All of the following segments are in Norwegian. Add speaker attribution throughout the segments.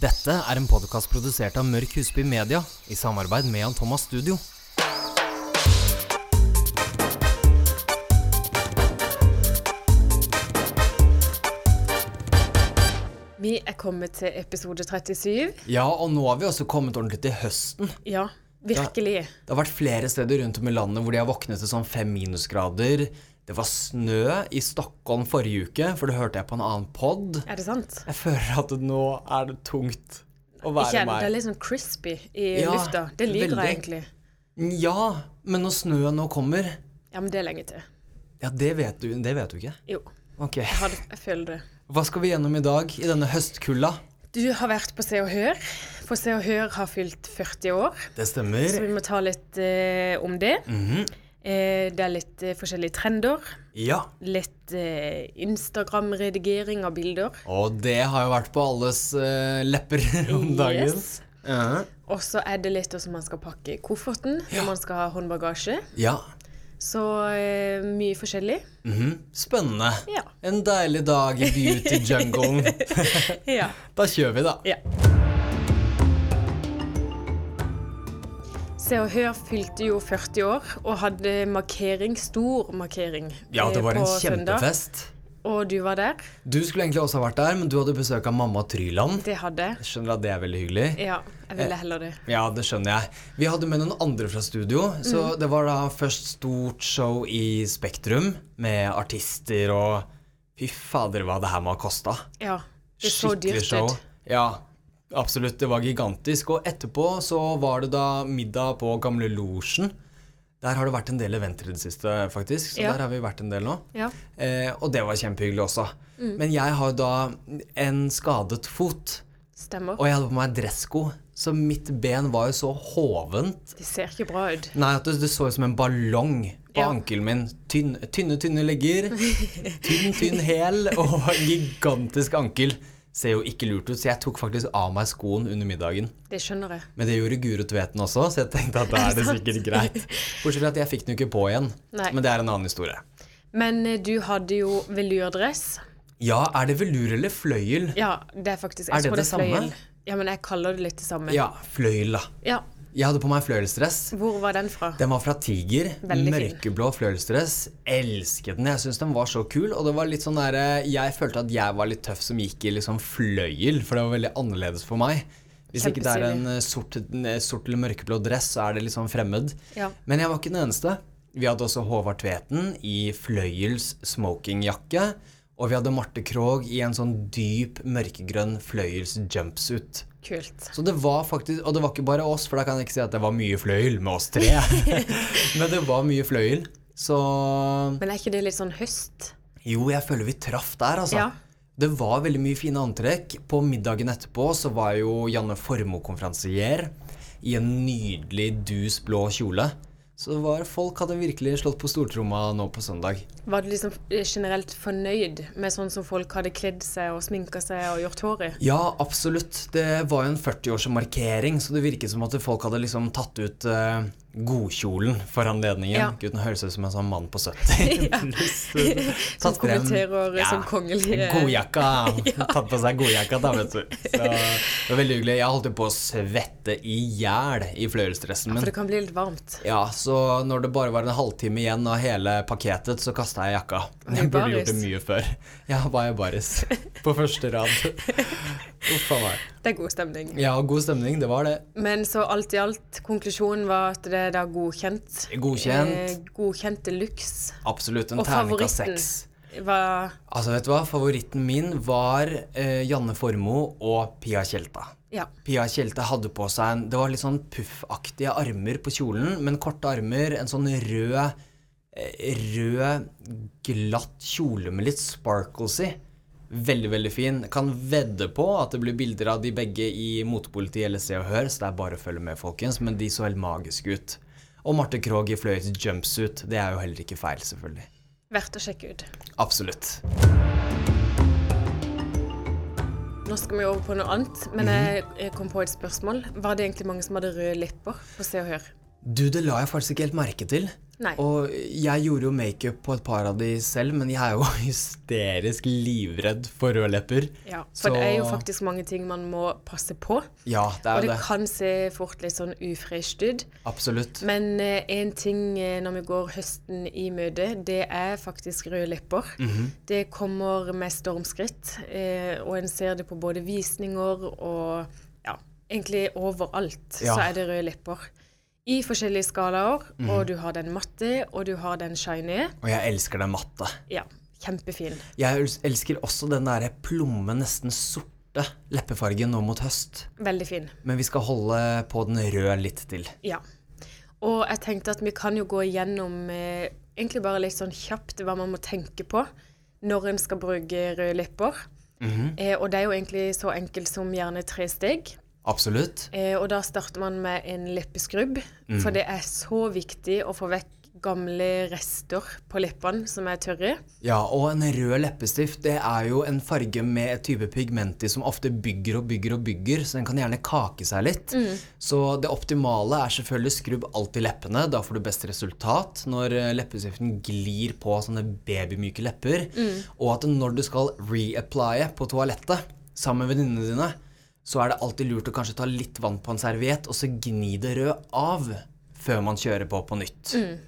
Speaker 1: Dette er en podkast produsert av Mørk Husby Media i samarbeid med Jan Thomas Studio.
Speaker 2: Vi er kommet til episode 37.
Speaker 1: Ja, og nå har vi også kommet ordentlig til høsten.
Speaker 2: Ja, virkelig.
Speaker 1: Det har vært flere steder rundt om i landet hvor de har våknet til sånn fem minusgrader. Det var snø i Stockholm forrige uke, for det hørte jeg på en annen pod.
Speaker 2: Er det sant?
Speaker 1: Jeg føler at nå er det tungt å
Speaker 2: Ikke
Speaker 1: være
Speaker 2: er det, det er
Speaker 1: meg.
Speaker 2: litt sånn crispy i
Speaker 1: Ja,
Speaker 2: lufta. Det liker
Speaker 1: veldig.
Speaker 2: jeg egentlig.
Speaker 1: Ja, men når snøen nå kommer
Speaker 2: Ja, men det er lenge til.
Speaker 1: Ja, det vet du, det vet du ikke.
Speaker 2: Jo,
Speaker 1: Ok.
Speaker 2: jeg, har det, jeg føler det.
Speaker 1: Hva skal vi gjennom i dag i denne høstkulda?
Speaker 2: Du har vært på Se og Hør. For Se og Hør har fylt 40 år,
Speaker 1: Det Mm. stemmer.
Speaker 2: så vi må ta litt eh, om det.
Speaker 1: Mm-hmm.
Speaker 2: eh, det er litt eh, forskjellige trender.
Speaker 1: Ja.
Speaker 2: Litt eh, Instagram-redigering av bilder.
Speaker 1: Og det har jo vært på alles eh, lepper om dagen.
Speaker 2: Yes.
Speaker 1: Ja.
Speaker 2: Og så er det litt hvordan man skal pakke kofferten når man skal ha håndbagasje.
Speaker 1: Ja.
Speaker 2: Så eh, mye forskjellig.
Speaker 1: Mhm. Spennende.
Speaker 2: Ja.
Speaker 1: En deilig dag i beauty junglen.
Speaker 2: Ja.
Speaker 1: da kjører vi, da.
Speaker 2: Se og Hør fylte jo 40 år og hadde markering, stor markering
Speaker 1: Ja, det
Speaker 2: eh,
Speaker 1: var en
Speaker 2: på søndag.
Speaker 1: kjempefest.
Speaker 2: Og du var der.
Speaker 1: Du skulle egentlig også ha vært der, men du hadde besøk av mamma Tryland.
Speaker 2: Det hadde jeg.
Speaker 1: Jeg Skjønner at det er veldig hyggelig.
Speaker 2: Ja, jeg ville
Speaker 1: Eh,
Speaker 2: heller det.
Speaker 1: Ja, det skjønner jeg. Vi hadde med noen andre fra studio, så
Speaker 2: Mm.
Speaker 1: det var da først stort show i Spektrum med artister og Fy fader, hva det her må ha kosta.
Speaker 2: Ja, det så dyrt ut.
Speaker 1: Ja, absolutt. Det var gigantisk. Og etterpå så var det da middag på Gamle Losjen. Der har det vært en del eventer i det siste, faktisk. Så
Speaker 2: Ja.
Speaker 1: der har vi vært en del nå.
Speaker 2: Ja.
Speaker 1: Eh, og det var kjempehyggelig også.
Speaker 2: Mm.
Speaker 1: Men jeg har da en skadet fot,
Speaker 2: Stemmer.
Speaker 1: og jeg hadde på meg dressko. Så mitt ben var jo så hovent
Speaker 2: Det ser ikke bra ut.
Speaker 1: Nei, at det, det så ut som en ballong på
Speaker 2: Ja.
Speaker 1: ankelen min. Tynn, tynne, tynne legger. Tynn, tynn hæl og en gigantisk ankel. Ser jo ikke lurt ut, så jeg tok faktisk av meg skoen under middagen.
Speaker 2: Det skjønner jeg.
Speaker 1: Men det gjorde Guro Tveten også, så jeg tenkte at da er det sikkert greit. Bortsett fra at jeg fikk den jo ikke på igjen.
Speaker 2: Nei.
Speaker 1: Men det er en annen historie.
Speaker 2: Men eh, du hadde jo velurdress.
Speaker 1: Ja, er det velur eller fløyel?
Speaker 2: Ja, det er faktisk
Speaker 1: Er det
Speaker 2: tror
Speaker 1: det samme?
Speaker 2: fløyel. Ja, men jeg kaller det litt det samme.
Speaker 1: Ja, fløyel, da.
Speaker 2: Ja.
Speaker 1: Jeg hadde på meg fløyelsdress.
Speaker 2: Hvor var den fra?
Speaker 1: Den var fra Tiger.
Speaker 2: Veldig fin.
Speaker 1: Mørkeblå fløyelsdress. Elsket den. Jeg syns den var så kul. Og det var litt sånn der, jeg følte at jeg var litt tøff som gikk i liksom fløyel, for det var veldig annerledes for meg. Hvis ikke det er en eh, sort, en, eh, sort eller mørkeblå dress, så er det litt sånn fremmed.
Speaker 2: Ja.
Speaker 1: Men jeg var ikke den eneste. Vi hadde også Håvard Tveten i fløyels smokingjakke. Og vi hadde Marte Krogh i en sånn dyp mørkegrønn fløyels jumpsuit.
Speaker 2: Kult.
Speaker 1: Så det var faktisk, og det var ikke bare oss, for da kan jeg ikke si at det var mye fløyel med oss tre. Men det var mye fløyel. Så
Speaker 2: Men er ikke det litt sånn høst?
Speaker 1: jo, jeg føler vi traff der, altså.
Speaker 2: Ja.
Speaker 1: Det var veldig mye fine antrekk. På middagen etterpå så var jo Janne Formoe konferansier i en nydelig dus blå kjole. Så det var, folk hadde virkelig slått på stortromma nå på søndag.
Speaker 2: Var du liksom eh, generelt fornøyd med sånn som folk hadde kledd seg og sminka seg og gjort hår i?
Speaker 1: Ja, absolutt. Det var jo en 40-årsmarkering, så det virket som at folk hadde liksom tatt ut eh, godkjolen for anledningen.
Speaker 2: Ja.
Speaker 1: Gud, nå høres det ut som en sånn mann på 70. Pluss, eh,
Speaker 2: Som
Speaker 1: tatt frem-
Speaker 2: kommenterer eh,
Speaker 1: Ja.
Speaker 2: som kongelige
Speaker 1: Godjakka. Tatt på seg godjakka, da, vet du. Så det var veldig hyggelig. Jeg holdt jo på å svette i hjel i fløyelsdressen min.
Speaker 2: For det kan bli litt varmt.
Speaker 1: Ja, så når det bare var en halvtime igjen av hele pakketet, så kasta jeg jakka.
Speaker 2: Var du
Speaker 1: Jeg burde gjort det
Speaker 2: baris?
Speaker 1: mye før. Ja, var jeg baris. På første rad. Uff a meg.
Speaker 2: Det er god stemning.
Speaker 1: Ja, god stemning, det var det.
Speaker 2: Men så alt i alt, konklusjonen var at det er da godkjent.
Speaker 1: Godkjent.
Speaker 2: Eh, godkjent de luxe.
Speaker 1: Absolutt en
Speaker 2: Eh, Og
Speaker 1: terning av
Speaker 2: favoritten
Speaker 1: seks.
Speaker 2: var
Speaker 1: Altså, vet du hva? Favoritten min var eh, Janne Formoe og Pia Tjelta.
Speaker 2: Ja.
Speaker 1: Pia Tjelte hadde på seg en, det var litt sånn puffaktige armer på kjolen, men korte armer, en sånn rød, eh, rød, glatt kjole med litt sparkles i. Veldig, veldig fin. Kan vedde på at det blir bilder av de begge i Motepolitiet eller Se og Hør, så det er bare å følge med, folkens, men de så helt magiske ut. Og Marte Krogh i fløyet jumpsuit, det er jo heller ikke feil, selvfølgelig.
Speaker 2: verdt å sjekke ut.
Speaker 1: Absolutt.
Speaker 2: Nå skal vi over på noe annet, men
Speaker 1: Mhm.
Speaker 2: jeg, jeg kom på et spørsmål. Var det egentlig mange som hadde røde lepper på Se og Hør?
Speaker 1: Du, det la jeg faktisk ikke helt merke til.
Speaker 2: Nei.
Speaker 1: Og jeg gjorde jo makeup på et par av de selv, men jeg er jo hysterisk livredd for røde lepper.
Speaker 2: Ja,
Speaker 1: Så-
Speaker 2: for det er jo faktisk mange ting man må passe på.
Speaker 1: Ja, det
Speaker 2: Og
Speaker 1: er jo
Speaker 2: det
Speaker 1: det.
Speaker 2: kan se fort litt sånn ufresht ut.
Speaker 1: Absolutt.
Speaker 2: Men én ting eh, når vi går høsten i møte, det er faktisk røde lepper.
Speaker 1: Mhm.
Speaker 2: Det kommer med stormskritt, eh, og en ser det på både visninger og ja, egentlig overalt
Speaker 1: Ja. Mhm.
Speaker 2: så er det røde lepper. I forskjellige skalaer, og du har den matte, og du har den shiny.
Speaker 1: Og jeg elsker den matte.
Speaker 2: Ja, kjempefin.
Speaker 1: Jeg els- elsker også den derre plomme, nesten sorte leppefargen nå mot høst.
Speaker 2: Veldig fin.
Speaker 1: Men vi skal holde på den røde litt til.
Speaker 2: Ja. Og jeg tenkte at vi kan jo gå igjennom eh, egentlig bare litt sånn kjapt hva man må tenke på når en skal bruke røde lepper.
Speaker 1: Mhm.
Speaker 2: eh, og det er jo egentlig så enkelt som gjerne tre steg.
Speaker 1: Absolutt.
Speaker 2: Eh, og da starter man med en leppeskrubb,
Speaker 1: Mhm.
Speaker 2: for det er så viktig å få vekk gamle rester på leppene som er tørre.
Speaker 1: Ja, og en rød leppestift det er jo en farge med et type pigment i som ofte bygger og bygger og bygger, så den kan gjerne kake seg litt. Så det optimale er selvfølgelig skrubb alltid leppene, da får du best resultat når eh, leppestiften glir på sånne babymyke lepper. Og at når du skal reapplye på toalettet sammen med venninnene dine, så er det alltid lurt å kanskje ta litt vann på en serviett og så gni det røde av før man kjører på på nytt.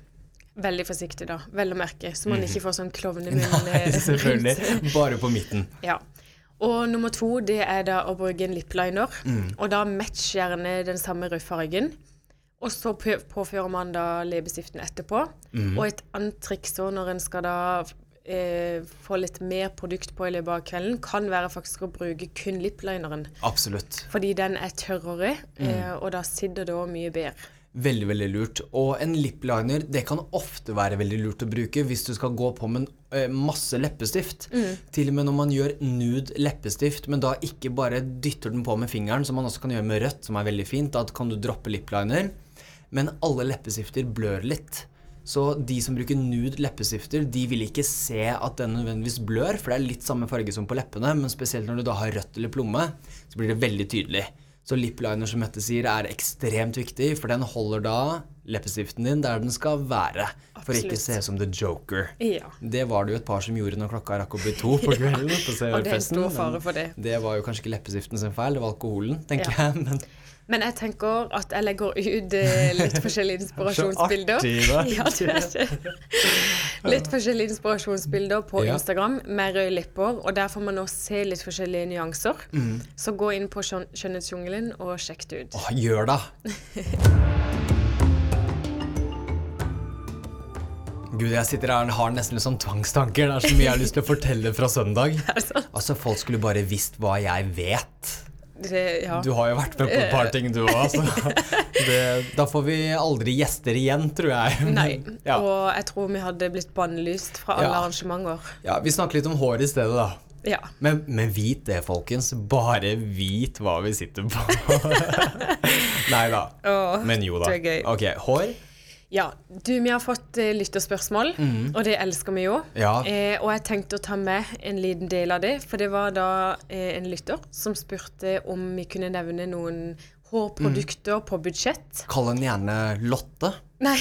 Speaker 2: Veldig forsiktig, da. Vel å merke, så man ikke får sånn klovnemunn.
Speaker 1: Mhm. Nei,
Speaker 2: eh, rundt.
Speaker 1: selvfølgelig. Bare på midten.
Speaker 2: Ja. Og nummer to, det er da å bruke en lipliner. Og da match gjerne den samme rødfargen. Og så pø- påfører man da leppestiften etterpå. Og et annet triks også når en skal da eh, få litt mer produkt på i løpet av kvelden, kan være faktisk å bruke kun liplineren.
Speaker 1: Absolutt.
Speaker 2: Fordi den er tørrere, eh, og da sitter det også mye bedre.
Speaker 1: Veldig, veldig lurt. Og en lipliner det kan ofte være veldig lurt å bruke hvis du skal gå på med en, eh, masse leppestift. Til og med når man gjør nude leppestift, men da ikke bare dytter den på med fingeren, som man også kan gjøre med rødt, som er veldig fint. Da kan du droppe lipliner. Men alle leppestifter blør litt. Så de som bruker nude leppestifter, de vil ikke se at den nødvendigvis blør, for det er litt samme farge som på leppene, men spesielt når du da har rødt eller plomme, så blir det veldig tydelig. Så lipliner, som Mette sier, er ekstremt viktig, for den holder da leppestiften din der den skal være, for ikke
Speaker 2: Absolutt.
Speaker 1: å se ut som The Joker.
Speaker 2: Ja.
Speaker 1: Det var det jo et par som gjorde når klokka rakk å bli to på kvelden. på
Speaker 2: Og det er en
Speaker 1: Sørfesten,
Speaker 2: stor
Speaker 1: men
Speaker 2: fare for det.
Speaker 1: Det var jo kanskje ikke leppestiften sin feil, det var alkoholen, tenker jeg. Men
Speaker 2: Men jeg tenker at jeg legger ut eh, litt forskjellige inspirasjonsbilder.
Speaker 1: Så artig, da.
Speaker 2: ja, det er det. Litt forskjellige inspirasjonsbilder på
Speaker 1: Ja.
Speaker 2: Instagram med røde lepper, og der får man også se litt forskjellige nyanser.
Speaker 1: Mm.
Speaker 2: Så gå inn på skjøn- Skjønnhetsjungelen og sjekk det ut.
Speaker 1: Åh, gjør da! Gud, jeg sitter her og har nesten litt sånn tvangstanker. Det er så mye jeg har lyst til å fortelle fra søndag.
Speaker 2: Altså,
Speaker 1: Altså, folk skulle bare visst hva jeg vet.
Speaker 2: det, ja.
Speaker 1: Du har jo vært med på et par ting, du òg, så det, Da får vi aldri gjester igjen, tror jeg.
Speaker 2: Nei.
Speaker 1: Ja.
Speaker 2: Og jeg tror vi hadde blitt bannlyst fra alle
Speaker 1: Ja.
Speaker 2: arrangementer.
Speaker 1: Ja, Vi snakker litt om hår i stedet, da.
Speaker 2: Ja.
Speaker 1: Men, men vit det, folkens. Bare vit hva vi sitter på. Nei da.
Speaker 2: Åh,
Speaker 1: Men jo da.
Speaker 2: det er gøy.
Speaker 1: Ok, Hår?
Speaker 2: Ja, du, vi har fått eh, lytterspørsmål, og det elsker vi jo.
Speaker 1: Mhm. Ja.
Speaker 2: Eh, og jeg tenkte å ta med en liten del av det, for det var da eh, en lytter som spurte om vi kunne nevne noen
Speaker 1: Mhm.
Speaker 2: hårprodukter på budsjett.
Speaker 1: Kall henne gjerne Lotte.
Speaker 2: Nei,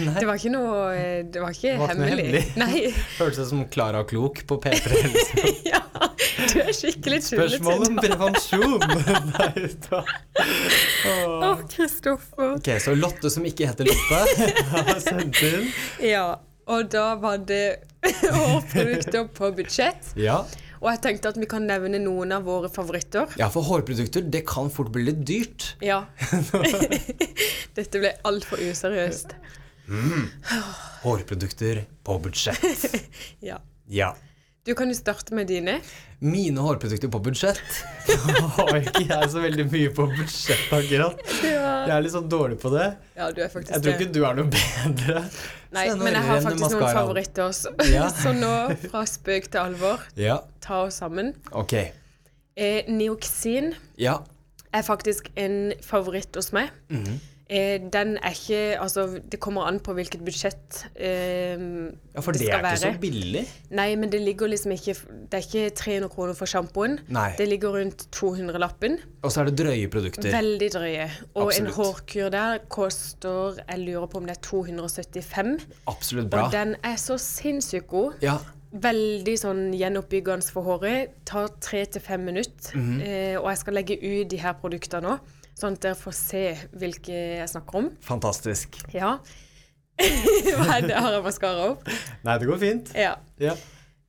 Speaker 2: det var ikke noe eh, Det var
Speaker 1: Det
Speaker 2: ikke
Speaker 1: var ikke noe
Speaker 2: hemmelig.
Speaker 1: hemmelig.
Speaker 2: Nei,
Speaker 1: Hørtes ut som Klara Klok på P3. Helse.
Speaker 2: ja, du er skikkelig
Speaker 1: Spørsmål
Speaker 2: tullete.
Speaker 1: om prevensjon! Nei da. Åh.
Speaker 2: Å, Kristoffer.
Speaker 1: Ok, så Lotte som ikke heter Lotte, har sendt inn.
Speaker 2: Ja, og da var det hårprodukter på budsjett.
Speaker 1: Ja.
Speaker 2: Og jeg tenkte at vi kan nevne noen av våre favoritter.
Speaker 1: ja, for hårprodukter det kan fort bli litt dyrt.
Speaker 2: Ja. Dette ble altfor useriøst.
Speaker 1: Hårprodukter på budsjett.
Speaker 2: Ja.
Speaker 1: Ja.
Speaker 2: Du kan jo starte med dine.
Speaker 1: Mine hårprodukter på budsjett Da har ikke jeg så veldig mye på budsjett akkurat. Jeg er litt sånn dårlig på det.
Speaker 2: Ja, du er faktisk
Speaker 1: Jeg tror ikke du er noe bedre.
Speaker 2: Nei,
Speaker 1: Se, nå
Speaker 2: men jeg har
Speaker 1: renner
Speaker 2: faktisk noen
Speaker 1: mascaraen.
Speaker 2: favoritter også.
Speaker 1: Ja.
Speaker 2: Så nå, fra spøk til alvor,
Speaker 1: Ja,
Speaker 2: ta oss sammen.
Speaker 1: ok.
Speaker 2: Eh, Neoksin
Speaker 1: Ja, Mhm.
Speaker 2: er faktisk en favoritt hos meg. Eh, den er ikke Altså, det kommer an på hvilket budsjett eh,
Speaker 1: Ja, for det, er ikke så billig.
Speaker 2: Nei, men det ligger liksom ikke Det er ikke 300 kroner for sjampoen.
Speaker 1: Nei.
Speaker 2: Det ligger rundt 200-lappen.
Speaker 1: Og så er det drøye produkter.
Speaker 2: Veldig drøye. Og en
Speaker 1: Absolutt.
Speaker 2: hårkur der koster Jeg lurer på om det er 275.
Speaker 1: Absolutt bra.
Speaker 2: Og den er så sinnssykt god.
Speaker 1: Ja,
Speaker 2: Veldig sånn gjenoppbyggende for håret. Tar tre til fem minutter. eh, og jeg skal legge ut de her produktene nå, sånn at dere får se hvilke jeg snakker om.
Speaker 1: fantastisk.
Speaker 2: Ja. Hva er det? Har jeg maskara opp?
Speaker 1: Nei, det går fint.
Speaker 2: Ja.
Speaker 1: Ja.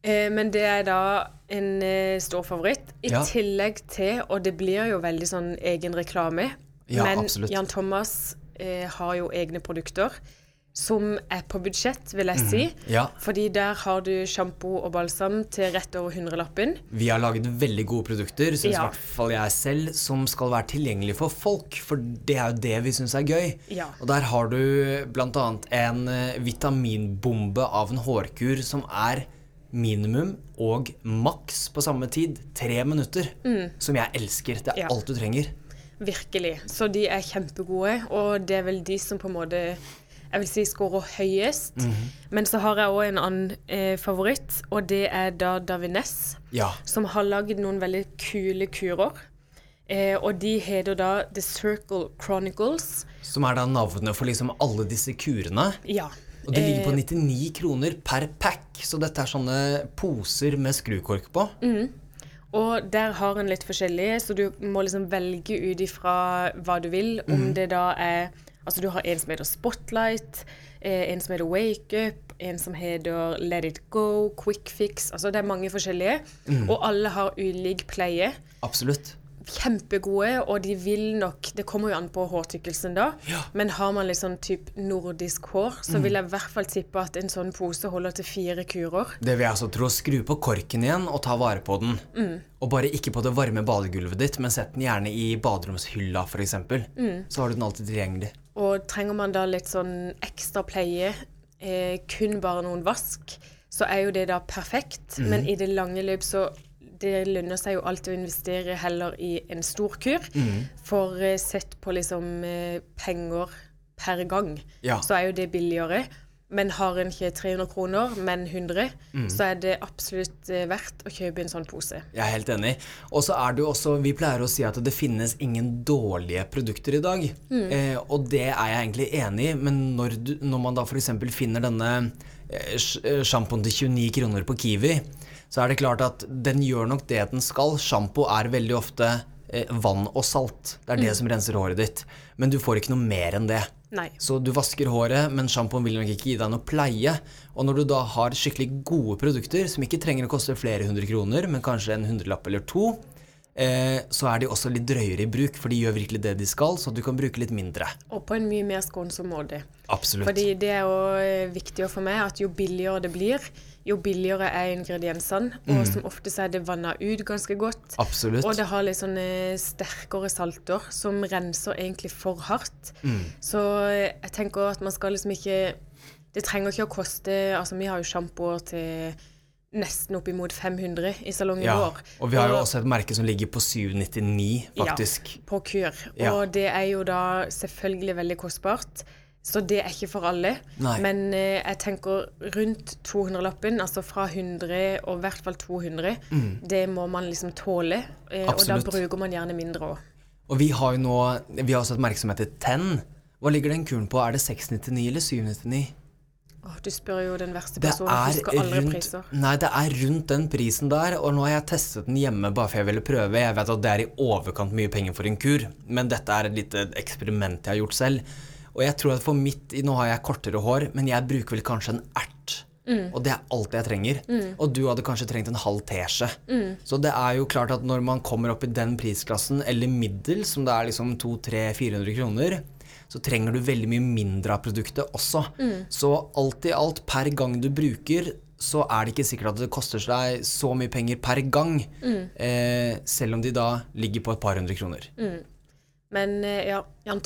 Speaker 2: Eh, men det er da en eh, stor favoritt. I
Speaker 1: Ja.
Speaker 2: tillegg til, og det blir jo veldig sånn egen reklame,
Speaker 1: Ja,
Speaker 2: men
Speaker 1: absolutt.
Speaker 2: Jan Thomas eh, har jo egne produkter som er på budsjett, vil jeg si.
Speaker 1: Mhm, Ja.
Speaker 2: Fordi der har du sjampo og balsam til rett over hundrelappen.
Speaker 1: Vi har laget veldig gode produkter, syns i
Speaker 2: Ja.
Speaker 1: hvert fall jeg selv, som skal være tilgjengelig for folk. For det er jo det vi syns er gøy.
Speaker 2: Ja.
Speaker 1: Og der har du bl.a. en eh, vitaminbombe av en hårkur som er minimum og maks på samme tid tre minutter. Som jeg elsker. Det er
Speaker 2: Mm. Ja.
Speaker 1: alt du trenger.
Speaker 2: Virkelig. Så de er kjempegode, og det er vel de som på en måte jeg vil si scorer høyest.
Speaker 1: Mhm.
Speaker 2: Men så har jeg òg en annen eh, favoritt, og det er da Davines.
Speaker 1: Ja.
Speaker 2: som har lagd noen veldig kule kurer. Eh, og de heter da The Circle Chronicles.
Speaker 1: Som er da navnet for liksom alle disse kurene.
Speaker 2: Ja.
Speaker 1: Og det ligger på 99 kroner per pack, så dette er sånne poser med skrukork på.
Speaker 2: Og der har en litt forskjellige, så du må liksom velge ut ifra hva du vil. Om det da er Altså, du har en som heter Spotlight, eh, en som heter Wake Up, en som heter Let It Go, Quick Fix Altså, det er mange forskjellige. Og alle har ulik pleie.
Speaker 1: Absolutt.
Speaker 2: kjempegode, og de vil nok Det kommer jo an på hårtykkelsen, da.
Speaker 1: Ja.
Speaker 2: Men har man litt sånn typ nordisk hår, så vil jeg i hvert fall tippe at en sånn pose holder til fire kurer.
Speaker 1: Det vil jeg altså tro. Skru på korken igjen og ta vare på den. Og bare ikke på det varme badegulvet ditt, men sett den gjerne i baderomshylla f.eks. Mm. Så har du den alltid tilgjengelig.
Speaker 2: Og trenger man da litt sånn ekstra pleie, eh, kun bare noen vask, så er jo det da perfekt. Men i det lange løp så det lønner seg jo alltid å investere heller i en stor kur. For eh, sett på liksom eh, penger per gang,
Speaker 1: Ja.
Speaker 2: så er jo det billigere. Men har en ikke 300 kroner, men 100, så er det absolutt eh, verdt å kjøpe en sånn pose.
Speaker 1: Jeg er helt enig. Og så er det jo også Vi pleier å si at det finnes ingen dårlige produkter i dag. Eh, og det er jeg egentlig enig i, men når, du, når man da f.eks. finner denne eh, sj- eh, sjampoen til 29 kroner på Kiwi, så er det klart at den gjør nok det den skal. Sjampo er veldig ofte eh, vann og salt. Det er det som renser håret ditt. Men du får ikke noe mer enn det.
Speaker 2: Nei.
Speaker 1: Så du vasker håret, men sjampoen vil nok ikke gi deg noe pleie. Og når du da har skikkelig gode produkter, som ikke trenger å koste flere hundre kroner, men kanskje en hundrelapp eller to, eh, så er de også litt drøyere i bruk, for de gjør virkelig det de skal, så du kan bruke litt mindre.
Speaker 2: Og på en mye mer skånsom måte.
Speaker 1: Absolutt.
Speaker 2: Fordi det er jo eh, viktig for meg at jo billigere det blir, jo billigere er ingrediensene. Og som ofte så er det vanna ut ganske godt.
Speaker 1: Mm. Absolutt.
Speaker 2: Og det har litt sånne sterkere salter som renser egentlig for hardt.
Speaker 1: Mm.
Speaker 2: Så eh, jeg tenker at man skal liksom ikke Det trenger ikke å koste Altså, vi har jo sjampoer til nesten oppimot 500 i salongen
Speaker 1: ja.
Speaker 2: vår.
Speaker 1: Og vi har jo også et merke som ligger på 799, faktisk.
Speaker 2: Ja, på kur.
Speaker 1: Ja.
Speaker 2: Og det er jo da selvfølgelig veldig kostbart. Så det er ikke for alle.
Speaker 1: Nei.
Speaker 2: Men eh, jeg tenker rundt 200-lappen, altså fra 100 og i hvert fall 200, det må man liksom tåle. Eh,
Speaker 1: Mm.
Speaker 2: og da
Speaker 1: Absolutt.
Speaker 2: bruker man gjerne mindre òg.
Speaker 1: Og vi har jo nå Vi har også et merke som heter Ten. Hva ligger den kuren på? Er det 699 eller 799?
Speaker 2: Åh, Du spør jo den verste
Speaker 1: Det
Speaker 2: personen.
Speaker 1: er,
Speaker 2: Husker aldri
Speaker 1: rundt,
Speaker 2: priser.
Speaker 1: nei, det er rundt den prisen der, og nå har jeg testet den hjemme bare for jeg ville prøve. Jeg vet at det er i overkant mye penger for en kur, men dette er et lite eksperiment jeg har gjort selv. Og jeg tror at for mitt Nå har jeg kortere hår, men jeg bruker vel kanskje en ert. Og det er alt jeg trenger. Og du hadde kanskje trengt en halv teskje. Så det er jo klart at når man kommer opp i den prisklassen, eller middel, som det er liksom 200-400 kroner, så trenger du veldig mye mindre av produktet også.
Speaker 2: Mm.
Speaker 1: Så alt i alt, per gang du bruker, så er det ikke sikkert at det koster deg så mye penger per gang,
Speaker 2: Mm.
Speaker 1: eh, selv om de da ligger på et par hundre kroner.
Speaker 2: Men eh, ja, Jan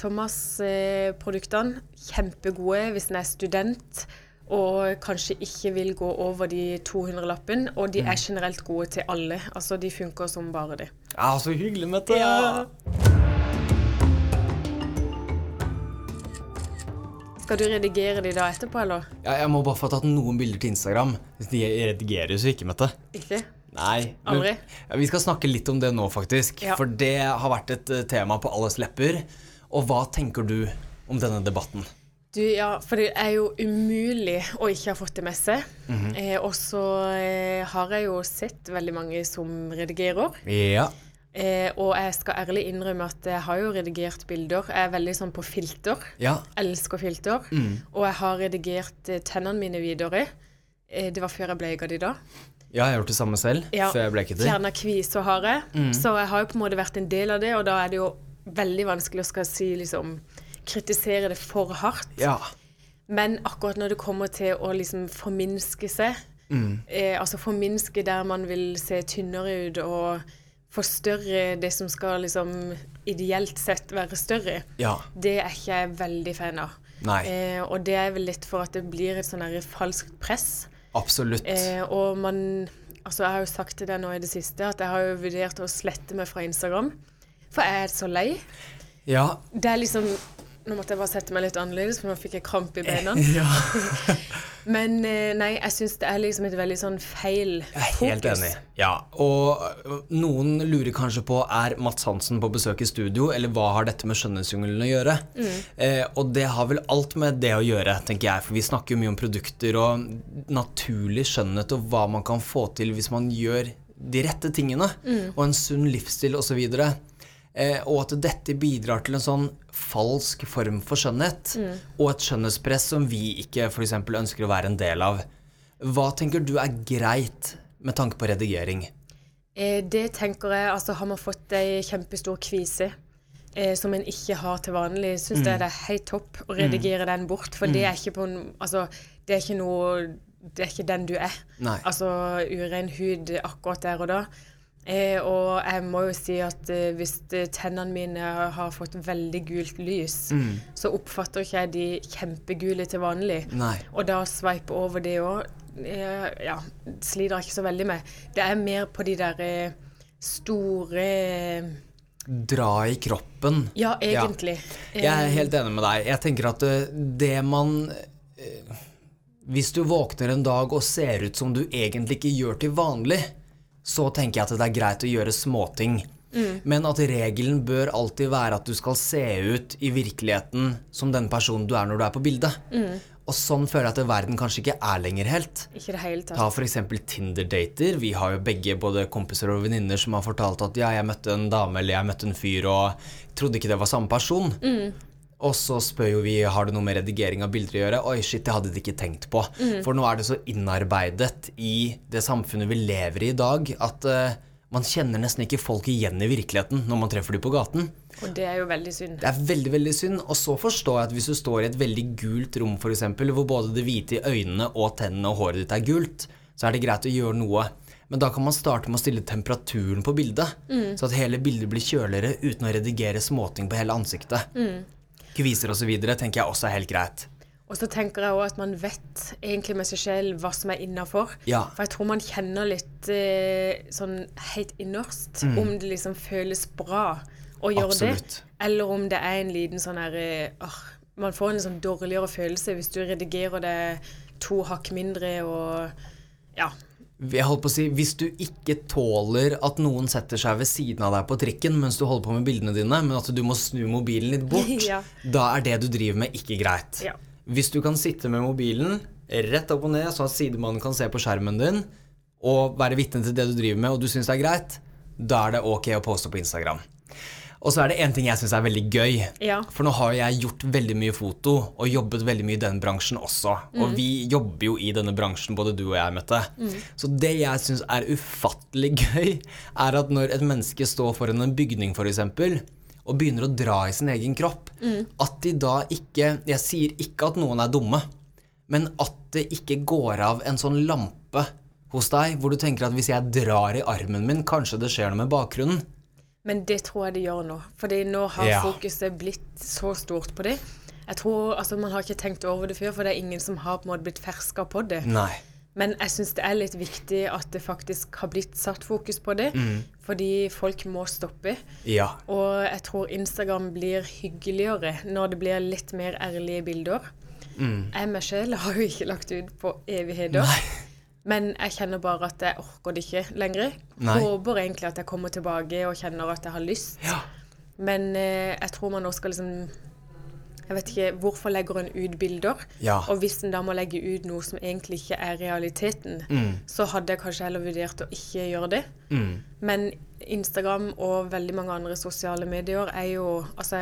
Speaker 2: Thomas-produktene, kjempegode hvis en er student og kanskje ikke vil gå over de 200-lappen. Og de er generelt gode til alle. Altså, de funker som bare det.
Speaker 1: Ja, så hyggelig, Mette!
Speaker 2: Skal du redigere de da etterpå, eller?
Speaker 1: Ja, jeg må bare få tatt noen bilder til Instagram. De redigeres jo ikke, Mette.
Speaker 2: Ikke?
Speaker 1: Nei. men-
Speaker 2: Aldri.
Speaker 1: Ja, vi skal snakke litt om det nå, faktisk.
Speaker 2: Ja.
Speaker 1: For det har vært et eh, tema på alles lepper. Og hva tenker du om denne debatten?
Speaker 2: Du, ja, for det er jo umulig å ikke ha fått det med seg. eh, og så eh, har jeg jo sett veldig mange som redigerer.
Speaker 1: Ja.
Speaker 2: Eh, og jeg skal ærlig innrømme at jeg har jo redigert bilder. Jeg er veldig sånn på filter.
Speaker 1: Ja. Mm.
Speaker 2: Elsker filter. Og jeg har redigert eh, tennene mine videre. Eh, det var før jeg bleika de da.
Speaker 1: jeg har gjort det samme selv
Speaker 2: Ja,
Speaker 1: før jeg Mm. bleketer.
Speaker 2: Fjerna kviser har jeg. Så jeg har jo på en måte vært en del av det, og da er det jo veldig vanskelig å skal si liksom Kritisere det for hardt.
Speaker 1: Ja.
Speaker 2: Men akkurat når det kommer til å liksom forminske seg, eh, altså forminske der man vil se tynnere ut og forstørre det som skal liksom ideelt sett være større,
Speaker 1: Ja.
Speaker 2: det er ikke jeg veldig fan av.
Speaker 1: Nei.
Speaker 2: Eh, og det er vel litt for at det blir et sånn her falskt press.
Speaker 1: Absolutt.
Speaker 2: Eh, og man Altså, jeg har jo sagt til deg nå i det siste at jeg har jo vurdert å slette meg fra Instagram, for jeg er så lei.
Speaker 1: Ja.
Speaker 2: Det er liksom Nå måtte jeg bare sette meg litt annerledes, for nå fikk jeg kramp i beina.
Speaker 1: ja.
Speaker 2: Men eh, nei, jeg syns det er liksom et veldig sånn feil fokus.
Speaker 1: Jeg er helt enig. Ja. Og ø, noen lurer kanskje på er Mats Hansen på besøk i studio, eller hva har dette med Skjønnhetsjungelen å gjøre? Eh, og det har vel alt med det å gjøre, tenker jeg. For vi snakker jo mye om produkter og naturlig skjønnhet og hva man kan få til hvis man gjør de rette tingene, og en sunn livsstil osv. Eh, og at dette bidrar til en sånn falsk form for skjønnhet,
Speaker 2: Mm.
Speaker 1: og et skjønnhetspress som vi ikke for eksempel ønsker å være en del av. Hva tenker du er greit med tanke på redigering?
Speaker 2: Eh, det tenker jeg, altså har man fått ei kjempestor kvise eh, som en ikke har til vanlig, syns
Speaker 1: Mm.
Speaker 2: jeg det er helt topp å redigere den bort. For det er ikke på en Altså, det er ikke noe Det er ikke den du er.
Speaker 1: Nei.
Speaker 2: Altså urein hud akkurat der og da. Eh, og jeg må jo si at eh, hvis eh, tennene mine har fått veldig gult lys,
Speaker 1: Mm.
Speaker 2: så oppfatter ikke jeg de kjempegule til vanlig.
Speaker 1: Nei.
Speaker 2: Og da sveipe over det òg, ja, sliter jeg ikke så veldig med. Det er mer på de der eh, store
Speaker 1: Dra i kroppen.
Speaker 2: Ja, egentlig.
Speaker 1: Jeg
Speaker 2: Eh.
Speaker 1: er helt enig med deg. Jeg tenker at eh, det man eh, Hvis du våkner en dag og ser ut som du egentlig ikke gjør til vanlig, så tenker jeg at det er greit å gjøre småting. Men at regelen bør alltid være at du skal se ut i virkeligheten som den personen du er når du er på bildet. Og sånn føler jeg at verden kanskje ikke er lenger helt.
Speaker 2: Eh, Ikke i det hele tatt.
Speaker 1: Ta f.eks. Tinder-dater. Vi har jo begge både kompiser og venninner som har fortalt at ja, jeg møtte en dame eller jeg møtte en fyr og trodde ikke det var samme person. Og så spør jo vi har det noe med redigering av bilder å gjøre. Oi, shit, det hadde de ikke tenkt på. For nå er det så innarbeidet i det samfunnet vi lever i i dag, at eh, man kjenner nesten ikke folk igjen i virkeligheten når man treffer dem på gaten.
Speaker 2: Og det er jo veldig synd.
Speaker 1: Det er veldig veldig synd. Og så forstår jeg at hvis du står i et veldig gult rom, for eksempel, hvor både det hvite i øynene og tennene og håret ditt er gult, så er det greit å gjøre noe. Men da kan man starte med å stille temperaturen på bildet, så at hele bildet blir kjøligere uten å redigere småting på hele ansiktet. Kviser og så videre tenker jeg også er helt greit.
Speaker 2: Og så tenker jeg òg at man vet egentlig med seg selv hva som er innafor.
Speaker 1: Ja.
Speaker 2: For jeg tror man kjenner litt eh, sånn helt innerst om det liksom føles bra å gjøre det,
Speaker 1: Mm. Absolutt.
Speaker 2: eller om det er en liten sånn her eh, ah, Man får en sånn dårligere følelse hvis du redigerer det to hakk mindre og Ja.
Speaker 1: jeg holdt på å si, Hvis du ikke tåler at noen setter seg ved siden av deg på trikken mens du holder på med bildene dine, men at du må snu mobilen litt bort,
Speaker 2: Ja.
Speaker 1: da er det du driver med, ikke greit.
Speaker 2: Ja.
Speaker 1: Hvis du kan sitte med mobilen rett opp og ned, sånn at sidemannen kan se på skjermen din, og være vitne til det du driver med, og du syns det er greit, da er det ok å poste på Instagram. Og så er det én ting jeg syns er veldig gøy.
Speaker 2: Ja.
Speaker 1: For nå har jeg gjort veldig mye foto, og jobbet veldig mye i den bransjen også.
Speaker 2: Mm.
Speaker 1: Og vi jobber jo i denne bransjen, både du og jeg, Mette. Så det jeg syns er ufattelig gøy, er at når et menneske står foran en bygning, f.eks., og begynner å dra i sin egen kropp,
Speaker 2: Mm.
Speaker 1: at de da ikke Jeg sier ikke at noen er dumme, men at det ikke går av en sånn lampe hos deg hvor du tenker at hvis jeg drar i armen min, kanskje det skjer noe med bakgrunnen.
Speaker 2: Men det tror jeg det gjør nå. Fordi nå har
Speaker 1: Ja.
Speaker 2: fokuset blitt så stort på det. Jeg tror, altså Man har ikke tenkt over det før, for det er ingen som har på en måte blitt ferska på det.
Speaker 1: Nei.
Speaker 2: Men jeg syns det er litt viktig at det faktisk har blitt satt fokus på det, fordi folk må stoppe.
Speaker 1: Ja.
Speaker 2: Og jeg tror Instagram blir hyggeligere når det blir litt mer ærlige bilder. Jeg meg sjøl har jo ikke lagt ut på evigheter. Men jeg kjenner bare at jeg orker det ikke lenger.
Speaker 1: Nei.
Speaker 2: Håper egentlig at jeg kommer tilbake og kjenner at jeg har lyst.
Speaker 1: Ja.
Speaker 2: Men eh, jeg tror man nå skal liksom Jeg vet ikke hvorfor legger en ut bilder.
Speaker 1: Ja.
Speaker 2: Og hvis en da må legge ut noe som egentlig ikke er realiteten, så hadde jeg kanskje heller vurdert å ikke gjøre det. Men Instagram og veldig mange andre sosiale medier er jo altså,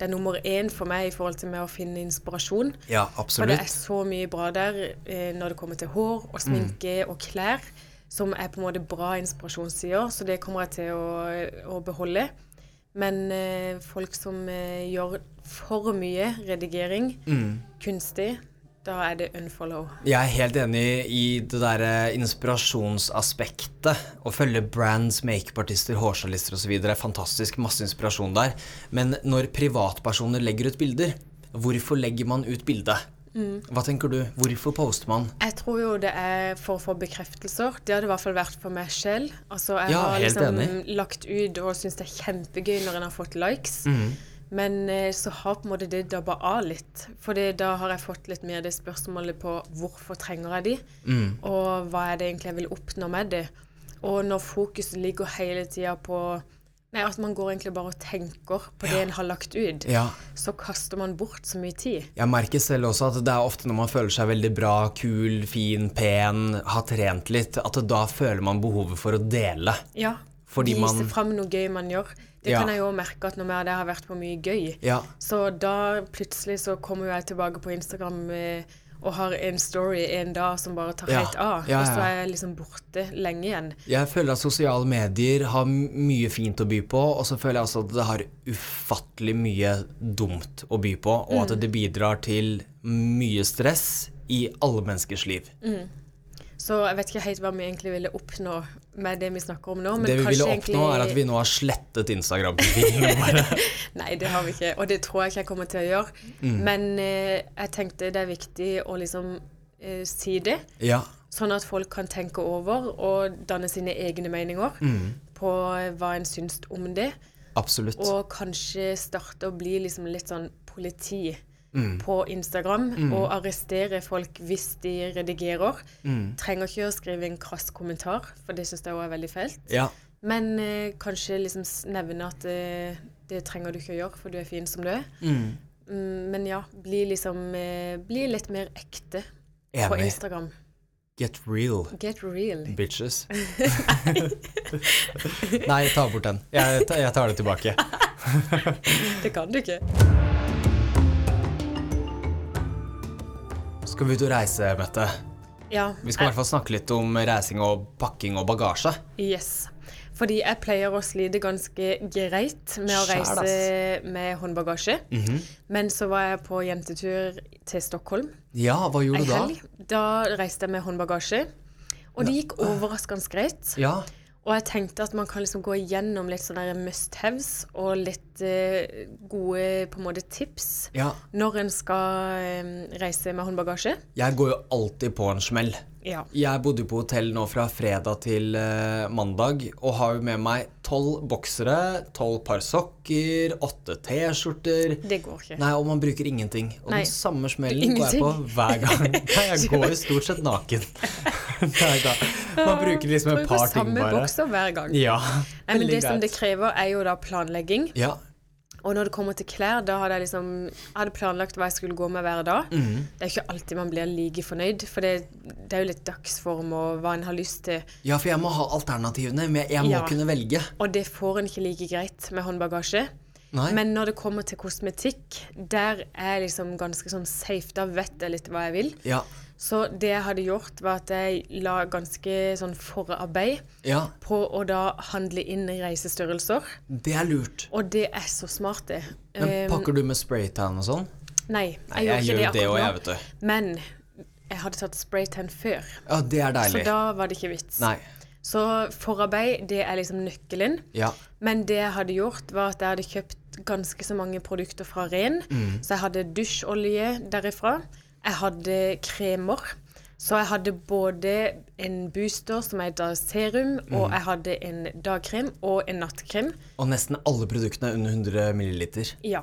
Speaker 2: det er nummer én for meg i forhold til med å finne inspirasjon.
Speaker 1: Ja,
Speaker 2: For det er
Speaker 1: absolutt.
Speaker 2: så mye bra der eh, når det kommer til hår og sminke og klær, som er på en måte bra inspirasjonssider, så det kommer jeg til å, å beholde. Men eh, folk som eh, gjør for mye redigering kunstig, da er det unfollow.
Speaker 1: Jeg er helt enig i det der eh, inspirasjonsaspektet. Å følge brands, makeupartister, hårstylister osv. er fantastisk. Masse inspirasjon der. Men når privatpersoner legger ut bilder, hvorfor legger man ut bilde? Hva tenker du? Hvorfor poster man?
Speaker 2: Jeg tror jo det er for å få bekreftelser. Det hadde i hvert fall vært for meg selv. Altså, jeg
Speaker 1: Ja,
Speaker 2: har
Speaker 1: helt
Speaker 2: liksom
Speaker 1: enig.
Speaker 2: lagt ut og syns det er kjempegøy når en har fått likes.
Speaker 1: Mhm.
Speaker 2: Men eh, så har på en måte det dabba av litt. For da har jeg fått litt mer det spørsmålet på hvorfor trenger jeg de,
Speaker 1: Mhm.
Speaker 2: og hva er det egentlig jeg vil oppnå med det. Og når fokuset ligger hele tida på Nei, at man går egentlig bare og tenker på det en har lagt ut,
Speaker 1: Ja.
Speaker 2: så kaster man bort så mye tid.
Speaker 1: Jeg merker selv også at det er ofte når man føler seg veldig bra, kul, fin, pen, har trent litt, at da føler man behovet for å dele.
Speaker 2: Ja.
Speaker 1: Fordi
Speaker 2: Vise
Speaker 1: man-
Speaker 2: fram noe gøy man gjør. Det
Speaker 1: Ja.
Speaker 2: kan jeg jo merke at når jeg og deg har vært på mye gøy,
Speaker 1: Ja.
Speaker 2: så da plutselig så kommer jo jeg tilbake på Instagram eh, og har en story en dag som bare tar
Speaker 1: Ja.
Speaker 2: helt av.
Speaker 1: Ja,
Speaker 2: Og så
Speaker 1: ja, ja.
Speaker 2: er jeg liksom borte lenge igjen.
Speaker 1: Jeg føler at sosiale medier har m- mye fint å by på, og så føler jeg også at det har ufattelig mye dumt å by på, og
Speaker 2: Mm.
Speaker 1: at det bidrar til mye stress i alle menneskers liv.
Speaker 2: Mm, Så jeg vet ikke helt hva vi egentlig ville oppnå med det vi snakker om nå. Men
Speaker 1: det vi ville
Speaker 2: kanskje
Speaker 1: oppnå, er at vi nå har slettet Instagram-profilen vår.
Speaker 2: Nei, det har vi ikke, og det tror jeg ikke jeg kommer til å gjøre.
Speaker 1: Mm.
Speaker 2: Men eh, jeg tenkte det er viktig å liksom eh, si det.
Speaker 1: Ja.
Speaker 2: Sånn at folk kan tenke over og danne sine egne meninger på hva en syns om det.
Speaker 1: Absolutt.
Speaker 2: Og kanskje starte å bli liksom litt sånn politi på Instagram. Og arrestere folk hvis de redigerer. Trenger ikke å skrive en krass kommentar, for det syns jeg òg er veldig fælt.
Speaker 1: Ja.
Speaker 2: Men eh, kanskje liksom s- nevne at eh, det trenger du ikke å gjøre, for du er fin som du er. Mm, men ja, bli liksom eh, Bli litt mer ekte på
Speaker 1: Enig.
Speaker 2: Instagram.
Speaker 1: Get real.
Speaker 2: Get real.
Speaker 1: Bitches. Nei, ta bort den. Jeg, ta- jeg tar det tilbake.
Speaker 2: Det kan du ikke.
Speaker 1: Skal vi ut og reise, Mette?
Speaker 2: Ja.
Speaker 1: Vi skal i hvert fall snakke litt om reising og pakking og bagasje.
Speaker 2: Yes. Fordi jeg pleier å slite ganske greit med å
Speaker 1: Skjæl, ass. Mhm.
Speaker 2: reise med håndbagasje. Men så var jeg på jentetur til Stockholm
Speaker 1: Ja, hva
Speaker 2: ei
Speaker 1: gjorde du da?
Speaker 2: helg. Da reiste jeg med håndbagasje. Og det gikk overraskende greit.
Speaker 1: Ja,
Speaker 2: Og jeg tenkte at man kan liksom gå igjennom litt sånne der must-haves og litt eh, gode på en måte tips
Speaker 1: ja.
Speaker 2: når en skal eh, reise med håndbagasje.
Speaker 1: Jeg går jo alltid på en smell.
Speaker 2: Ja.
Speaker 1: Jeg bodde jo på hotell nå fra fredag til eh, mandag, og har jo med meg tolv boksere, tolv par sokker, åtte T-skjorter.
Speaker 2: Det går ikke.
Speaker 1: Nei, og man bruker ingenting. Og
Speaker 2: Nei.
Speaker 1: den samme smellen går jeg
Speaker 2: Ingenting.
Speaker 1: på hver gang. Nei, jeg går jo stort sett naken. Nei da. Man bruker liksom et
Speaker 2: Bruker
Speaker 1: par ting
Speaker 2: samme
Speaker 1: bare.
Speaker 2: bokser hver gang.
Speaker 1: Ja.
Speaker 2: Nei, men
Speaker 1: veldig
Speaker 2: det som det
Speaker 1: greit.
Speaker 2: krever, er jo da planlegging.
Speaker 1: Ja.
Speaker 2: Og når det kommer til klær, da hadde jeg liksom jeg hadde planlagt hva jeg skulle gå med hver dag.
Speaker 1: Mhm.
Speaker 2: Det er ikke alltid man blir like fornøyd, for det, det er jo litt dagsform og hva en har lyst til.
Speaker 1: ja, for jeg må ha alternativene. Men jeg må
Speaker 2: Ja.
Speaker 1: kunne velge.
Speaker 2: Og det får en ikke like greit med håndbagasje.
Speaker 1: Nei.
Speaker 2: Men når det kommer til kosmetikk, der er jeg liksom ganske sånn safe. Da vet jeg litt hva jeg vil.
Speaker 1: Ja.
Speaker 2: Så det jeg hadde gjort, var at jeg la ganske sånn forarbeid
Speaker 1: ja.
Speaker 2: på å da handle inn reisestørrelser.
Speaker 1: Det er lurt.
Speaker 2: Og det er så smart, det.
Speaker 1: Men
Speaker 2: Eh,
Speaker 1: pakker du med spraytan og sånn?
Speaker 2: Nei,
Speaker 1: Nei,
Speaker 2: jeg,
Speaker 1: jeg
Speaker 2: gjorde
Speaker 1: gjør
Speaker 2: ikke det
Speaker 1: jo det
Speaker 2: akkurat
Speaker 1: også, jeg,
Speaker 2: nå. Men jeg hadde tatt spraytan før,
Speaker 1: Ja, det er
Speaker 2: så
Speaker 1: deilig.
Speaker 2: da var det ikke vits.
Speaker 1: Nei.
Speaker 2: Så forarbeid, det er liksom nøkkelen.
Speaker 1: Ja.
Speaker 2: Men det jeg hadde gjort, var at jeg hadde kjøpt ganske så mange produkter fra Ren.
Speaker 1: Mm.
Speaker 2: Så jeg hadde dusjolje derifra. Jeg hadde kremer. Så jeg hadde både en booster, som er da serum,
Speaker 1: Mm.
Speaker 2: og jeg hadde en dagkrem og en nattkrem.
Speaker 1: Og nesten alle produktene er under 100 milliliter.
Speaker 2: Ja.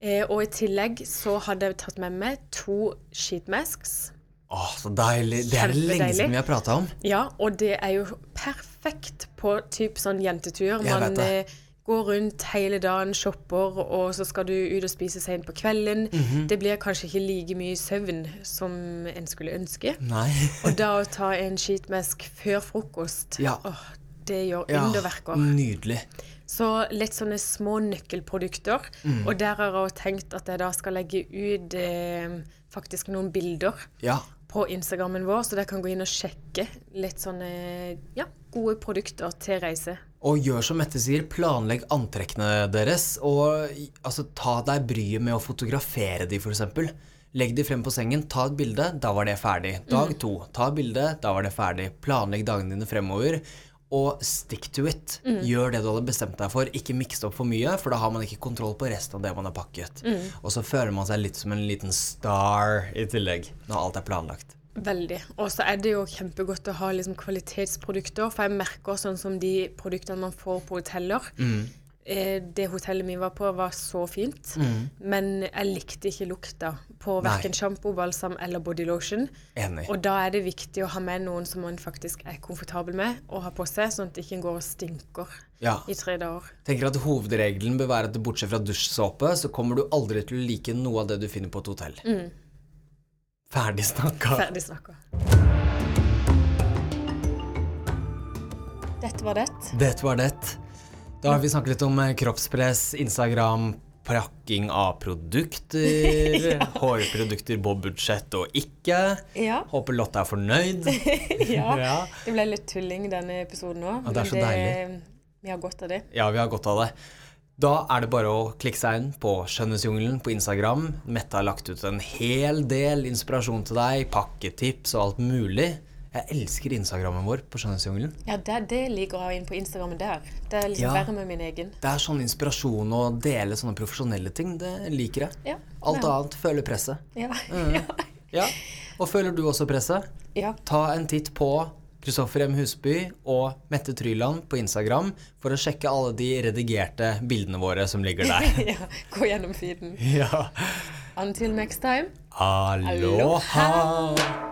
Speaker 2: Eh, og i tillegg så hadde jeg tatt med meg to sheetmasks.
Speaker 1: Åh, så deilig. Det er det lenge
Speaker 2: Kjempedeilig.
Speaker 1: siden vi har prata om.
Speaker 2: Ja, og det er jo perfekt på typ sånn jentetur.
Speaker 1: Jeg vet
Speaker 2: Man
Speaker 1: det.
Speaker 2: eh, går rundt hele dagen, shopper, og så skal du ut og spise seint på kvelden.
Speaker 1: Mhm.
Speaker 2: Det blir kanskje ikke like mye søvn som en skulle ønske.
Speaker 1: Nei.
Speaker 2: Og da å ta en sheetmask før frokost,
Speaker 1: Ja.
Speaker 2: åh, det gjør
Speaker 1: Ja, Mm.
Speaker 2: underverker.
Speaker 1: nydelig.
Speaker 2: Så litt sånne små nøkkelprodukter.
Speaker 1: Mm.
Speaker 2: Og der har jeg også tenkt at jeg da skal legge ut eh, faktisk noen bilder
Speaker 1: Ja.
Speaker 2: på Instagrammen vår, så dere kan gå inn og sjekke litt sånne ja, gode produkter til reise.
Speaker 1: Og gjør som Mette sier, planlegg antrekkene deres. Og i- altså, ta deg bryet med å fotografere de, f.eks. Legg de frem på sengen, ta et bilde, da var det ferdig. Dag to, ta et bilde, da var det ferdig. Planlegg dagene dine fremover. Og stick to it. Gjør det du hadde bestemt deg for. Ikke miks opp for mye, for da har man ikke kontroll på resten av det man har pakket. Og så føler man seg litt som en liten star i tillegg, når alt er planlagt.
Speaker 2: Veldig. Og så er det jo kjempegodt å ha liksom kvalitetsprodukter, for jeg merker sånn som de produktene man får på hoteller.
Speaker 1: Mm.
Speaker 2: Eh, Det hotellet vi var på, var så fint, men jeg likte ikke lukta på
Speaker 1: Nei.
Speaker 2: verken sjampo, balsam eller body lotion.
Speaker 1: Enig.
Speaker 2: Og da er det viktig å ha med noen som man faktisk er komfortabel med å ha på seg, sånn at det ikke går og stinker
Speaker 1: Ja.
Speaker 2: i tre dager.
Speaker 1: tenker at hovedregelen bør være at bortsett fra dusjsåpe, så kommer du aldri til å like noe av det du finner på et hotell. Ferdig snakka.
Speaker 2: Ferdig snakka. Dette var det.
Speaker 1: Det var det. Da har vi snakket litt om eh, kroppspress, Instagram, prakking av produkter, hårprodukter på budsjett og ikke.
Speaker 2: Ja.
Speaker 1: Håper Lotte er fornøyd.
Speaker 2: ja.
Speaker 1: Ja.
Speaker 2: Det ble litt tulling denne episoden òg.
Speaker 1: Ja, det er så
Speaker 2: Vi har godt av det.
Speaker 1: Ja, vi har godt av det. Da er det bare å klikke seg inn på Skjønnhetsjungelen på Instagram. Mette har lagt ut en hel del inspirasjon til deg, pakketips og alt mulig. Jeg elsker Instagrammen vår på Skjønnhetsjungelen.
Speaker 2: Ja, det, det liker jeg inn på Instagram der. Det er liksom
Speaker 1: Ja.
Speaker 2: verre med min egen.
Speaker 1: Det er sånn inspirasjon å dele sånne profesjonelle ting. Det liker jeg.
Speaker 2: Ja.
Speaker 1: Alt annet føler presset.
Speaker 2: Ja.
Speaker 1: Mm. Ja. Og føler du også presset?
Speaker 2: ja.
Speaker 1: Ta en titt på Kristoffer M. Husby og Mette Tryland på Instagram for å sjekke alle de redigerte bildene våre som ligger der.
Speaker 2: ja. Gå gjennom feeden.
Speaker 1: ja.
Speaker 2: Until next time.
Speaker 1: Aloha!
Speaker 2: Aloha.